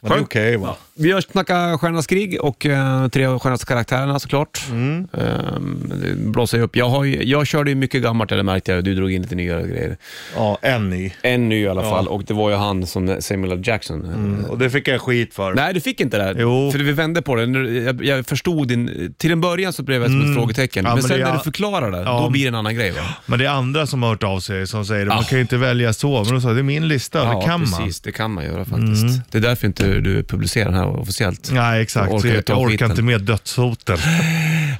C: Men det är okej va?
B: Vi har snackat Stjärnornas krig och eh, tre av Stjärnornas karaktärerna såklart.
C: Mm.
B: Ehm, det blåser ju upp. Jag, har ju, jag körde ju mycket gammalt, det märkte jag. Du drog in lite nyare grejer.
C: Ja, en ny.
B: En ny i alla fall och det var ju han som Samuel L. Jackson.
C: Och det fick jag skit för.
B: Nej, du fick inte det.
C: Mm. Jo.
B: För vi vände på det. Nu- Jag, jag förstod din... Till en början så blev jag som ett frågetecken.
C: Mm. Ja,
B: men,
C: men
B: sen
C: det-
B: när du
C: ja.
B: förklarar det,
C: Ja.
B: då blir det en annan grej va?
C: Men det är andra som har hört av sig som säger
B: Ah.
C: man kan ju inte välja så. Men de sa det är min lista, det kan
B: precis.
C: man. Mm.
B: Det kan man göra faktiskt. Det är därför inte du publicerar den här officiellt.
C: Nej, exakt.
B: Jag orkar
C: Jag orkar,
B: inte
C: jag
B: ta
C: orkar
B: skiten.
C: inte med dödshoten.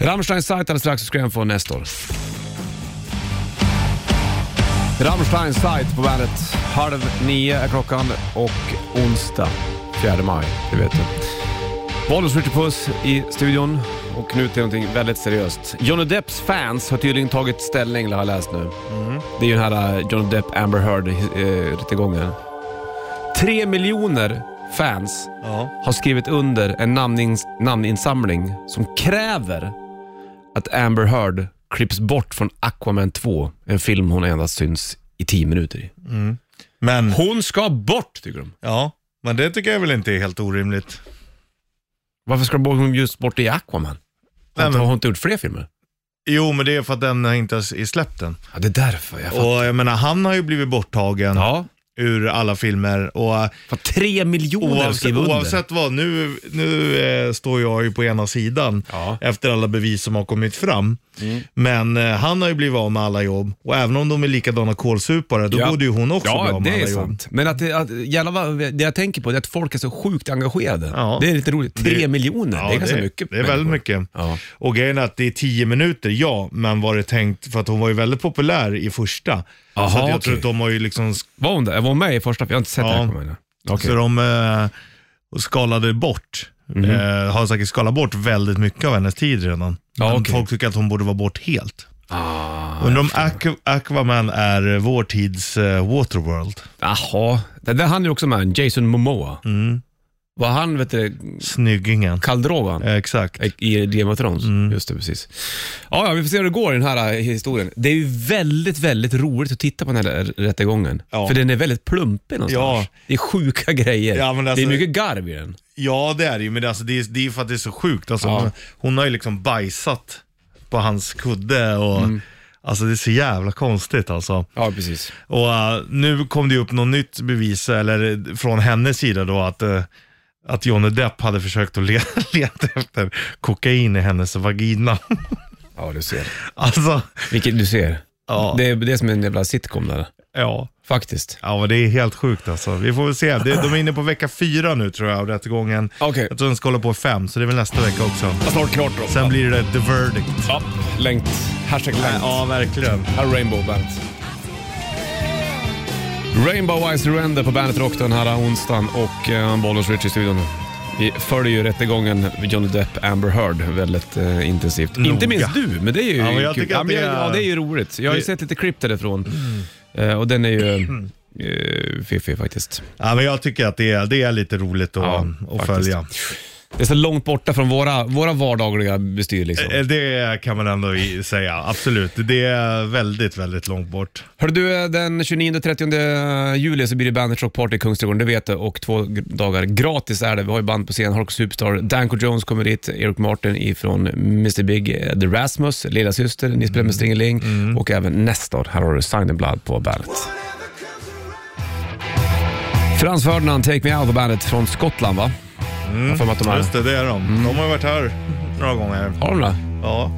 B: Rammstein sajt alldeles strax så ska den få nästa år. Rammstein sajt på bandet. Halv nio är klockan och onsdag 4 maj, det vet du. Bollnäs Ritchie Puss i studion och nu till någonting väldigt seriöst. Johnny Depps fans har tydligen tagit ställning, har jag läst nu. Det är ju den här eh, Johnny Depp Amber Heard-rättegången. Tre miljoner fans
C: Ja.
B: har skrivit under en namnins namninsamling som kräver att Amber Heard klipps bort från Aquaman 2, en film hon endast syns i 10 minuter i.
C: Men,
B: Hon ska bort, tycker de.
C: ja. men det tycker jag väl inte är helt orimligt.
B: Varför ska hon just bort i Aquaman? Hon
C: Nej, men-
B: har hon inte gjort fler filmer?
C: Jo, men det är för att den inte är släppt än.
B: Ja, det är därför. Jag fattar.
C: Och jag menar, han har ju blivit borttagen
B: Ja,
C: ur alla filmer. Och eh,
B: för tre miljoner
C: oavsett,
B: skriver under.
C: oavsett vad, nu, nu eh, står jag ju på ena sidan
B: Ja. Mm.
C: efter alla bevis som har kommit fram. Men eh, han har ju blivit av med alla jobb och även om de är likadana kålsupare, då
B: Ja.
C: borde ju hon också bli
B: Ja,
C: av med
B: det
C: alla
B: är
C: jobb.
B: sant. Men att, det- att, jävlar vad, det jag tänker på är att folk är så sjukt engagerade.
C: Ja.
B: Det är lite roligt. Tre
C: Det-
B: miljoner,
C: Ja,
B: det är ganska mycket.
C: Det är väldigt
B: människor.
C: mycket.
B: Ja.
C: Och grejen är att det är tio minuter, ja, men var det tänkt, för att hon var ju väldigt populär i första.
B: Aha,
C: så att jag
B: okej.
C: tror att de har ju liksom, sk-
B: Var hon där? Var hon med i första? Jag har inte sett
C: Ja.
B: ja. Aquaman. Okej.
C: så de eh, skalade bort,
B: Mhm.
C: eh, har säkert skalat bort väldigt mycket av hennes tid redan.
B: Ja,
C: men
B: okej.
C: folk tycker att hon borde vara bort helt.
B: Ah,
C: Undrar om Aqu- Aquaman är eh, vår tids eh, Waterworld.
B: Jaha, det där han är ju också med, Jason Momoa. Var han, vet du,
C: Snyggingen.
B: Kaldrovan
C: Eh, exakt.
B: i Game of Thrones? Just det, precis. Ja, ja, vi får se hur det går i den här eh, historien. Det är ju väldigt, väldigt roligt att titta på den här r- rättegången.
C: Ja.
B: För den är väldigt plumpig någonstans.
C: Ja.
B: Det är sjuka grejer.
C: Ja, men
B: Det är
C: alltså-
B: mycket garv i den.
C: Ja, det är det ju, men det, är alltså, det, är, det är för att det är så sjukt. Alltså,
B: Ja.
C: hon, hon har ju liksom bajsat på hans kudde och
B: Mm.
C: Alltså det är så jävla konstigt alltså.
B: Ja, precis.
C: Och eh, nu kom det ju upp något nytt bevis, eller eh, från hennes sida då, att, eh, att Johnny Depp hade försökt att le- leta efter kokain i hennes vagina.
B: Ja, du ser.
C: alltså,
B: Vilket du ser.
C: ja.
B: Det är det är som en jävla sitcom där.
C: ja.
B: Faktiskt.
C: Ja, men det är helt sjukt alltså. Vi får väl se. Det, de är inne på vecka fyra nu tror jag, av rättegången.
B: Okej.
C: Jag tror den ska hålla på i fem, så det är väl nästa vecka också.
B: Snart klart då.
C: Sen blir det the verdict.
B: Ja, längt. Hashtag längt.
C: Ja, verkligen.
B: Här är Rainbow Bandet. Rainbow Wise Surrender på Bandet Rock den här onsdagen och eh, Bollnäs Rich i studion. Vi följer ju rättegången Johnny Depp, Amber Heard väldigt eh, intensivt.
C: Noga.
B: Inte minst du, men det är ju
C: Ja, men jag
B: kul.
C: tycker att
B: men
C: det
B: jag-
C: är-
B: ja, det är ju roligt. Jag har ju
C: Det- Mm.
B: sett lite klipp därifrån Eh, och den är ju eh, fiffig faktiskt.
C: Ja, men jag tycker att det är, det är lite roligt att, um,
B: Ja,
C: att
B: faktiskt.
C: följa.
B: Det är så långt borta från våra, våra vardagliga bestyr liksom.
C: Eh, Det kan man ändå i- säga, absolut. Det är väldigt, väldigt långt bort.
B: Hörru du, eh, den 29-30 juli så blir det Bandit Rock Party i Kungsträdgården, det vet du. Och två g- dagar gratis är det. Vi har ju band på scen, Hark Superstar, Danko Jones kommer dit, Eric Martin ifrån Mr Big, eh, The Rasmus, Lilla Syster, Ni spelar
C: Mm.
B: med Stringeling och även Nestor. Här har du Sign and Blood på Bandet. Frans Ferdinand, Take Me Out på Bandet från Skottland va? Mm. Jag har för mig att de är...
C: Just det, det är de. De har varit här några gånger.
B: Har de det?
C: Mm. Ja,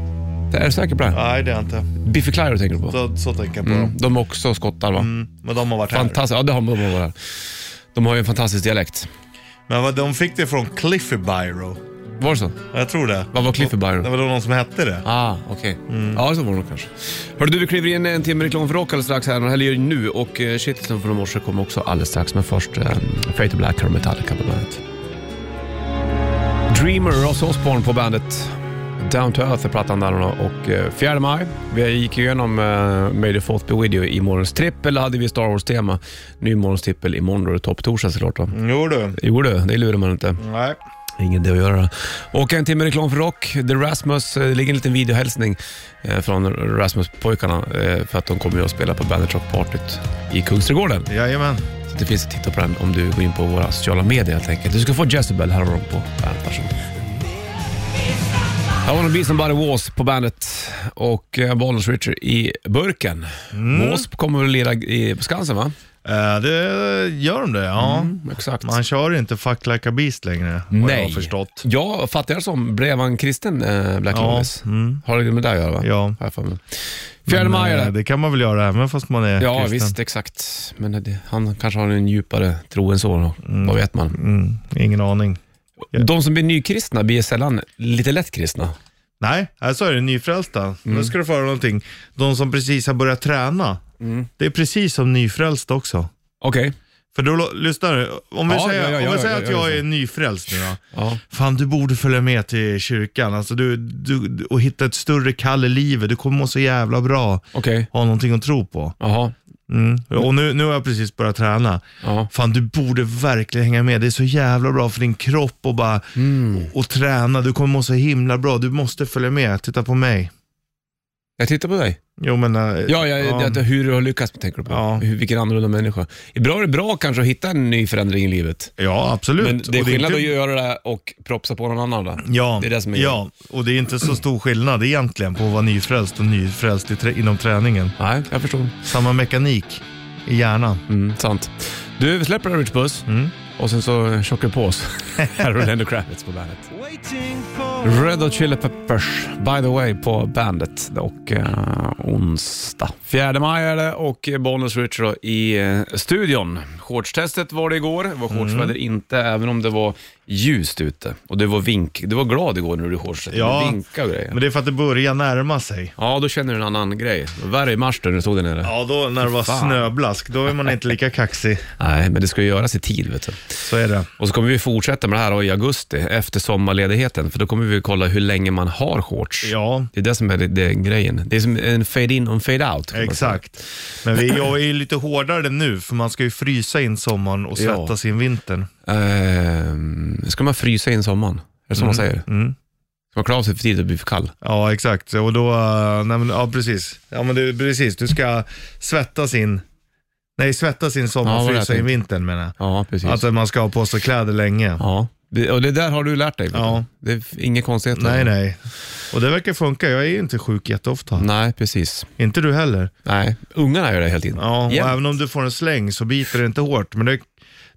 B: Det är du säker på det?
C: nej det är jag inte.
B: Biffy Clyro tänker du på?
C: Så, så tänker jag på dem.
B: Mm. De är också skottar va?
C: Mm, Men de har varit här.
B: Fantastiskt, ja det har de. De har, varit här. de har ju en fantastisk dialekt.
C: Men vad- de fick det från Cliffy Biro.
B: Var det så?
C: Jag tror det.
B: Vad var Cliffy Biro?
C: Det var då någon som hette det.
B: Ah, okej. Ja, så var det nog kanske. Hörru du, vi kliver in en timme reklam för rock alldeles strax här, eller gör det nu. Och eh, Shitlisten från i morse kommer också alldeles strax, men först eh, Fate to Black här och Metallica på bandet. Dreamer, Ross Osborn på bandet. Down to Earth är plattan där och och, eh, 4 maj. Vi gick igenom eh, May the Fourth Be With You i morgons trippel, hade vi Star Wars-tema. Ny morgons trippel imorgon då är det topptorsdag såklart. Va?
C: Jo du.
B: Jo du, det lurar man inte.
C: Nej.
B: Ingen det att göra. Och en timme reklam för rock. The Rasmus, eh, det ligger en liten videohälsning eh, från Rasmus-pojkarna eh, för att de kommer ju att spela på Bandit Rock Partyt i Kungsträdgården.
C: Jajamän.
B: Så det finns att titta på den om du går in på våra sociala medier helt enkelt. Du ska få Jezebel här har de på bandet. Varsågod. I wanna be somebody was på bandet och eh, Bollnäs Richard i burken. Wasp kommer väl lira i, på Skansen va?
C: Eh, Det gör de det, ja.
B: Exakt.
C: Man kör inte Fuck Like a Beast längre, vad jag har förstått.
B: Ja, fattar jag det som. Blev han kristen, eh, Black
C: Ja, mm.
B: Lawless? Har det med det att göra? Va?
C: Ja.
B: Har jag för mig. Fjärde maj är
C: Men, eh,
B: det.
C: Det kan man väl göra även fast man är
B: Ja,
C: kristen.
B: visst, exakt. Men det, han kanske har en djupare tro än så. då. Vad vet man?
C: Mm, ingen aning.
B: De som blir nykristna blir sällan lite lätt kristna.
C: Nej, här så är det nyfrälsta.
B: Mm.
C: Nu ska du få höra någonting. De som precis har börjat träna,
B: Mm.
C: det är precis som nyfrälsta också.
B: Okej.
C: För då, lo- lyssna nu. Om vi
B: Ja,
C: säger,
B: ja, ja,
C: om vi
B: ja,
C: säger
B: ja,
C: att
B: ja,
C: jag
B: ja.
C: är nyfrälst nu då.
B: Ja.
C: Fan, du borde följa med till kyrkan alltså, du, du, och hitta ett större kall i livet. Du kommer må så jävla bra.
B: Okej.
C: Ha någonting att tro på.
B: Jaha.
C: Mm. Och nu, nu har jag precis börjat träna.
B: Ja.
C: Fan, du borde verkligen hänga med. Det är så jävla bra för din kropp och bara
B: Mm.
C: och, och träna. Du kommer må så himla bra. Du måste följa med. Titta på mig.
B: Jag tittar på dig.
C: Jo, men... eh,
B: Ja, jag, Det, hur du har lyckats med, tänker du på.
C: Ja.
B: Hur, vilken annorlunda människa. Ibland är det bra kanske att hitta en ny förändring i livet.
C: ja, absolut.
B: Men det är
C: Och
B: skillnad
C: inte-
B: att göra det och propsa på någon annan. Då.
C: Ja,
B: Det är det som är-
C: ja, och det är inte så stor skillnad egentligen på att vara nyfrälst och nyfrälst i trä- inom träningen.
B: Nej, jag förstår.
C: Samma mekanik i hjärnan.
B: Mm, sant. Du, vi släpper Rich Puss
C: Mm.
B: och sen så tjockar vi på oss. Här har du Lendo Kravitz på bandet. Red Hot Chili Peppers, by the way, på bandet. Och eh, onsdag. 4 maj är det och Bonus Rich då i eh, studion. Shortstestet var det igår. Det var
C: Mm.
B: shortsväder inte, även om det var ljust ute. Och du var, vink, du var glad igår när du gjorde shortset.
C: Ja.
B: Du vinkade och grejer.
C: Men det är för att det börjar närma sig.
B: Ja, då känner du en annan grej. Värre i mars då, när du stod där nere.
C: Ja, då när det var
B: Fan.
C: snöblask, då är man inte lika kaxig.
B: Nej, men det ska ju göras i tid, vet du.
C: Så är det.
B: Och så kommer vi fortsätta med det här då i augusti, efter sommarledigheten, för då kommer vi kolla hur länge man har shorts.
C: Ja,
B: Det är det som är det, det är grejen. Det är som en fade-in och en fade-out. kan man säga.
C: Exakt. Men vi, jag är ju lite hårdare nu, för man ska ju frysa in sommaren och
B: Ja.
C: svettas in vintern.
B: Ehm, ska man frysa in sommaren? Är det så man säger?
C: Mm.
B: Ska man klara sig för tidigt och bli för kall?
C: Ja, exakt. Och då, eh, nej men, ja precis. Ja men det, precis, du ska svettas in, nej svettas in
B: Ja, vad
C: sommaren,
B: jag
C: frysa in
B: tänkte.
C: vintern menar jag.
B: Ja, precis.
C: Alltså man ska ha på sig kläder länge.
B: ja. Det, och det där har du lärt dig? vet
C: Ja.
B: du. Det är inga konstigheter?
C: Nej, nej. Och det verkar funka. Jag är ju inte sjuk jätteofta.
B: Nej, precis.
C: Inte du heller.
B: Nej, ungarna gör det hela tiden.
C: Ja, och
B: Jämt.
C: även om du får en släng så biter det inte hårt. Men det,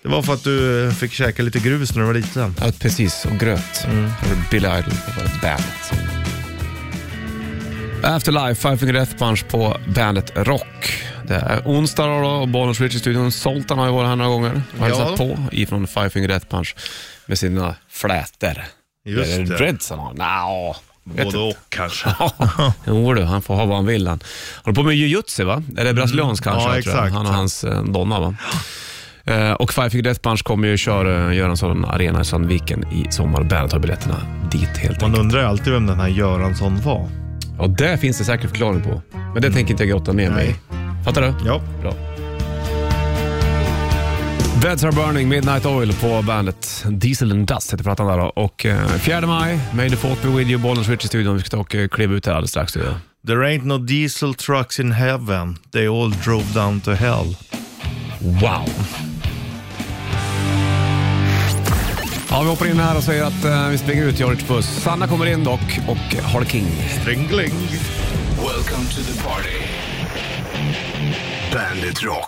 C: det var för att du eh, fick käka lite grus när du var liten.
B: Ja, precis. Och gröt.
C: Mm.
B: Och Billy Idol. Det var bandet. Afterlife, Five Finger Death Punch på bandet Rock. Det är onsdag då och Bollnäs Rich i studion. Zoltan har ju varit här några gånger och hälsat på ifrån Five Finger Death Punch med sina flätor.
C: Just
B: Eller
C: det.
B: Dreads han har. Nja, vet
C: Både
B: inte.
C: och kanske.
B: Jo du, han får ha vad han vill han. Håller på med jujutsu va? Är det brasiliansk kanske?
C: Mm. Ja,
B: jag tror jag.
C: exakt.
B: Han och hans eh, donna va? Eh, och Five Finger Death Punch kommer ju köra, göra en sån arena i Sandviken i sommar. Bandet har biljetterna dit helt
C: Man
B: enkelt.
C: undrar ju alltid vem den här Göransson var.
B: Ja, det finns det säkert förklaring på. Men det tänker inte jag grotta ner mig i. Fattar du?
C: Ja.
B: Bra. Beds are burning, Midnight Oil på bandet. Diesel and Dust heter plattan där då. Och eh, 4 maj, May the fourth be with you, Bollnäs Switch i studion. Vi ska ta och eh, kliva ut här alldeles strax. du.
C: There ain't no diesel trucks in heaven. They all drove down to hell.
B: Wow! Ja, vi hoppar in här och säger att eh, vi springer ut George Buss. Sanna kommer in dock och har King.
C: Ringling.
A: Welcome to the party. Bandit Rock.